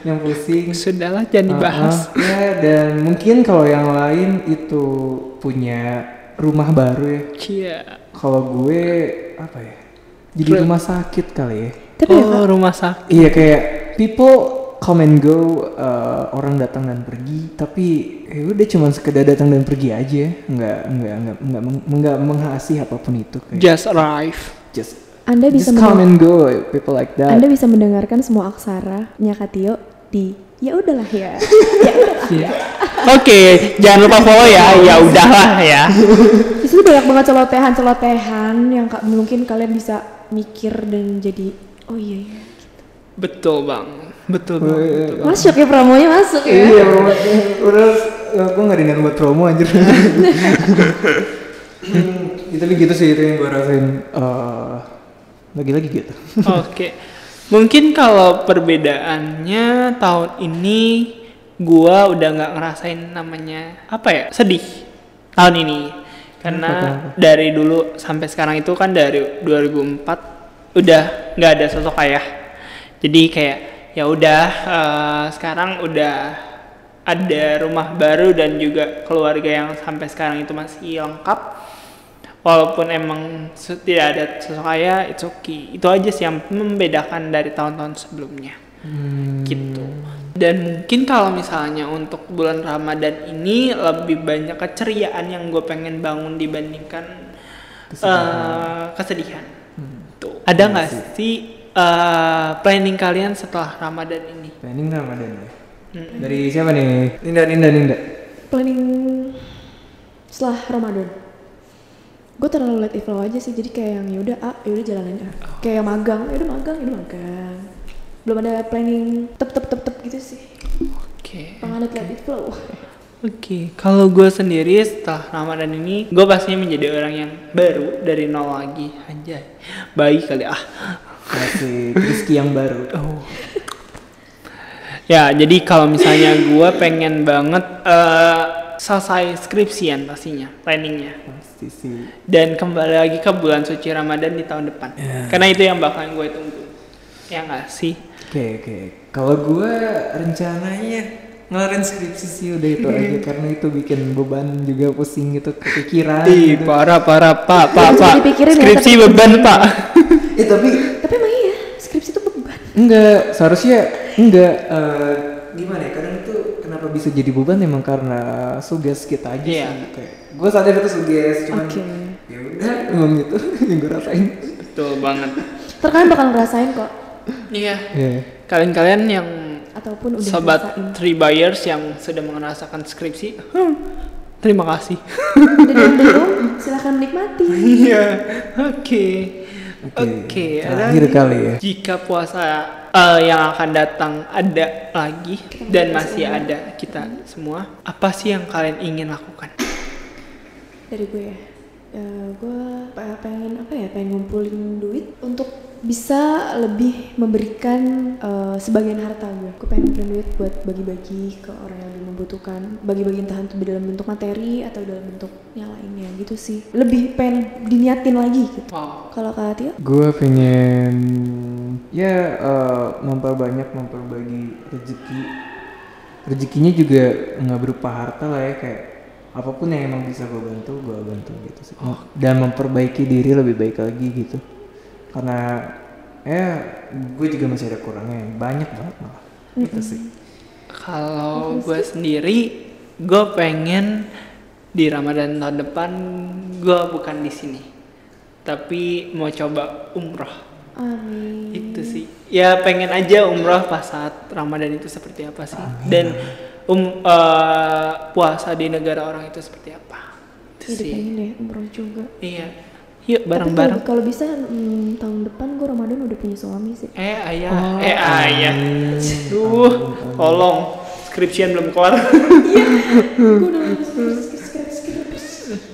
[SPEAKER 1] yang pusing.
[SPEAKER 3] Sudahlah jangan dibahas.
[SPEAKER 1] Uh-uh. Ya dan mungkin kalau yang lain itu punya rumah baru ya.
[SPEAKER 3] Cia.
[SPEAKER 1] Kalau gue apa ya? Jadi
[SPEAKER 3] Ru-
[SPEAKER 1] rumah sakit kali ya.
[SPEAKER 4] tapi ya
[SPEAKER 3] Oh rumah sakit.
[SPEAKER 1] Iya kayak people come and go, uh, orang datang dan pergi, tapi ya udah cuman sekedar datang dan pergi aja, nggak nggak nggak nggak meng- nggak menghasih apapun itu kayak
[SPEAKER 3] Just arrive.
[SPEAKER 1] just
[SPEAKER 4] anda
[SPEAKER 1] just
[SPEAKER 4] bisa
[SPEAKER 1] come
[SPEAKER 4] mendengar-
[SPEAKER 1] and go, people like that.
[SPEAKER 4] anda bisa mendengarkan semua aksara nya Katio di ya udahlah ya
[SPEAKER 3] Oke, jangan lupa follow ya. Ya udahlah ya.
[SPEAKER 4] di situ banyak banget celotehan celotehan yang ka- mungkin kalian bisa mikir dan jadi oh iya ya
[SPEAKER 3] Betul bang, betul bang. betul.
[SPEAKER 4] masuk ya promonya masuk ya
[SPEAKER 1] Iya, promo. Iya, udah gue nggak diundang buat promo anjir. Hmm, tapi gitu sih itu yang gue rasain eh, lagi-lagi gitu.
[SPEAKER 3] Oke, mungkin kalau perbedaannya tahun ini gua udah nggak ngerasain namanya apa ya sedih tahun ini karena dari dulu sampai sekarang itu kan dari 2004 udah nggak ada sosok ayah jadi kayak ya udah eh, sekarang udah ada rumah baru dan juga keluarga yang sampai sekarang itu masih lengkap walaupun emang se- tidak ada sosok ayah it's okay itu aja sih yang membedakan dari tahun-tahun sebelumnya gitu dan mungkin kalau misalnya untuk bulan Ramadan ini lebih banyak keceriaan yang gue pengen bangun dibandingkan eh, kesedihan tuh ada nggak Hmm. Iya sih eh, planning kalian setelah Ramadan ini
[SPEAKER 1] Planning Ramadan ya.
[SPEAKER 4] Hmm.
[SPEAKER 1] Dari siapa nih? Ninda, Ninda, Ninda.
[SPEAKER 4] planning setelah Ramadan gue terlalu late flow aja sih jadi kayak yang yaudah ah yaudah jalanin ah kayak yang magang yaudah magang yaudah magang belum ada planning tep tep tep tep gitu sih
[SPEAKER 3] oke
[SPEAKER 4] penganut late it flow
[SPEAKER 3] Oke, kalau gue sendiri setelah Ramadan ini, gue pastinya menjadi orang yang baru dari nol lagi. Anjay, baik kali ah.
[SPEAKER 1] Kasih Rizky yang baru.
[SPEAKER 3] Oh. Ya, jadi kalau misalnya gue pengen banget eh, selesai skripsian pastinya, planningnya.
[SPEAKER 1] Pasti sih.
[SPEAKER 3] Dan kembali lagi ke bulan suci Ramadan di tahun depan. Karena itu yang bakalan gue tunggu. Ya nggak sih?
[SPEAKER 1] Oke oke. Kalau gue rencananya ngelarin skripsi sih udah itu aja karena itu bikin beban juga pusing gitu kepikiran.
[SPEAKER 3] Ih,
[SPEAKER 1] gitu.
[SPEAKER 3] parah, parah, pak, pak,
[SPEAKER 4] Jangan
[SPEAKER 3] pak.
[SPEAKER 4] dipikirin ya,
[SPEAKER 3] Skripsi
[SPEAKER 4] tapi-
[SPEAKER 3] beban, pak.
[SPEAKER 1] Eh tapi
[SPEAKER 4] tapi emang iya skripsi itu beban
[SPEAKER 1] Enggak, seharusnya enggak. eh, gimana ya? Kadang itu kenapa bisa jadi beban emang karena suges kita aja
[SPEAKER 3] Iya.
[SPEAKER 1] sih. Kayak gue sadar itu suges, cuman
[SPEAKER 4] Oke.
[SPEAKER 1] ya udah emang gitu yang gue rasain.
[SPEAKER 3] Betul banget.
[SPEAKER 4] ntar kalian bakal ngerasain kok
[SPEAKER 3] Iya.
[SPEAKER 1] Iya.
[SPEAKER 3] Kalian-kalian yang
[SPEAKER 4] ataupun udah
[SPEAKER 3] sobat
[SPEAKER 4] ngerasain
[SPEAKER 3] three buyers yang sudah merasakan skripsi hmm, terima kasih
[SPEAKER 4] dan yang belum silahkan menikmati
[SPEAKER 3] iya oke oke ada
[SPEAKER 1] Terakhir kali ya.
[SPEAKER 3] jika puasa eh, yang akan datang ada lagi dan masih ada kita semua apa sih yang kalian ingin lakukan
[SPEAKER 4] dari gue ya, ya gue pe- pengen apa ya pengen ngumpulin duit untuk bisa lebih memberikan eh, sebagian harta gue gue pengen ngumpulin duit buat bagi-bagi ke orang yang lebih membutuhkan bagi-bagi entah itu dalam bentuk materi atau dalam bentuk yang lainnya gitu sih lebih pengen diniatin lagi gitu
[SPEAKER 3] wow
[SPEAKER 4] kalau kak Tio
[SPEAKER 1] Gue pengen ya eh, memperbanyak memperbagi rezeki rezekinya juga nggak berupa harta lah ya kayak apapun yang emang bisa gue bantu gue bantu gitu sih dan memperbaiki diri lebih baik lagi gitu karena eh gue juga masih ada kurangnya banyak banget malah gitu sih
[SPEAKER 3] Kalau gue sendiri, gue pengen di Ramadan tahun depan gue bukan di sini, tapi mau coba umroh.
[SPEAKER 4] Amin.
[SPEAKER 3] Itu sih. Ya pengen aja umroh pas saat Ramadan itu seperti apa sih, dan um eh, puasa di negara orang itu seperti apa. Itu
[SPEAKER 4] Jadi
[SPEAKER 3] sih.
[SPEAKER 4] pengen Iya, deh umroh juga.
[SPEAKER 3] Iya. Yuk
[SPEAKER 4] Tapi kalau-
[SPEAKER 3] bareng-bareng.
[SPEAKER 4] Kalau bisa hmm, tahun depan gue Ramadan udah punya suami sih.
[SPEAKER 3] Eh ayah, eh ayah. Duh, tolong. Skripsian belum keluar.
[SPEAKER 4] gue udah harus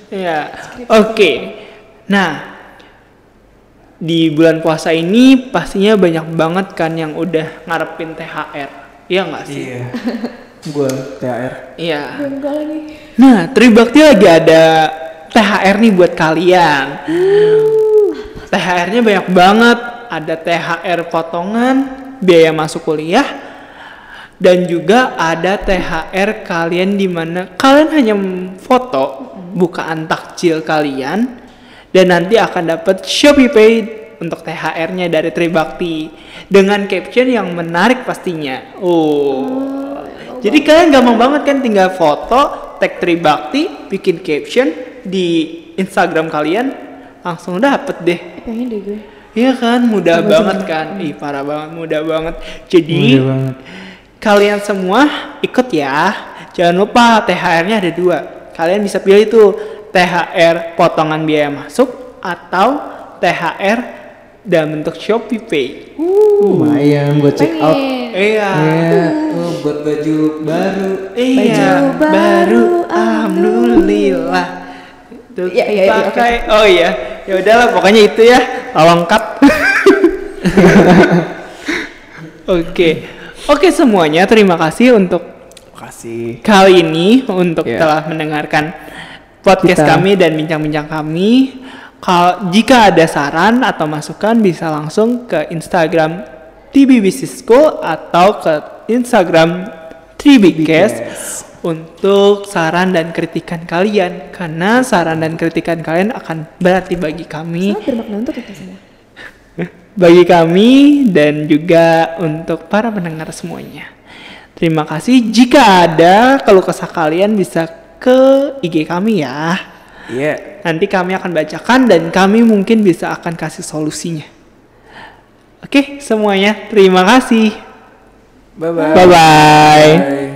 [SPEAKER 3] Ya, oke. Nah, di bulan puasa ini pastinya banyak banget kan yang udah ngarepin THR. Iya nggak sih?
[SPEAKER 1] iya gue THR
[SPEAKER 3] Iya.
[SPEAKER 4] enggak lagi.
[SPEAKER 3] Nah, Tribakti lagi ada THR nih buat kalian. THR-nya banyak banget. Ada THR potongan, biaya masuk kuliah, dan juga ada THR kalian di mana kalian hanya foto bukaan takjil kalian dan nanti akan dapat Shopee Pay untuk THR-nya dari Tribakti dengan caption yang menarik pastinya. oh jadi kalian gampang banget kan tinggal foto, tag Tribakti, bikin caption di Instagram kalian, langsung dapet deh.
[SPEAKER 4] Eh, pengen deh gue.
[SPEAKER 3] Iya kan, mudah banget kan. Ih, parah banget, mudah banget. Jadi
[SPEAKER 1] Mudah banget.
[SPEAKER 3] kalian semua ikut ya. Jangan lupa THR-nya ada dua. Kalian bisa pilih tuh THR potongan biaya masuk atau THR dalam bentuk Shopee Pay.
[SPEAKER 1] Uh. lumayan gue check out
[SPEAKER 4] Pengen.
[SPEAKER 3] Iya.
[SPEAKER 1] Iya, oh, buat baju baru
[SPEAKER 3] Iya,
[SPEAKER 4] Baju baru,
[SPEAKER 3] baru alhamdulillah. Tuh,
[SPEAKER 4] Iya, iya, iya, oke.
[SPEAKER 3] pakai. Oh iya, ya udahlah pokoknya itu ya. Tolong cut. Oke. Oke semuanya, terima kasih untuk
[SPEAKER 1] makasih
[SPEAKER 3] kali ini untuk
[SPEAKER 1] Iya.
[SPEAKER 3] telah mendengarkan podcast
[SPEAKER 1] Kita-
[SPEAKER 3] kami dan bincang-bincang kami. Kalau jika ada saran atau masukan bisa langsung ke Instagram TB Business School atau ke Instagram 3BCast untuk saran dan kritikan kalian karena saran dan kritikan kalian akan berarti bagi kami
[SPEAKER 4] Sangat bermakna untuk kita semua.
[SPEAKER 3] bagi kami dan juga untuk para pendengar semuanya. Terima kasih. Jika ada keluh kesah kalian bisa ke IG kami ya.
[SPEAKER 1] iya
[SPEAKER 3] Nanti kami akan bacakan dan kami mungkin bisa akan kasih solusinya. Oke, semuanya terima kasih.
[SPEAKER 1] bye
[SPEAKER 3] Bye bye.
[SPEAKER 1] bye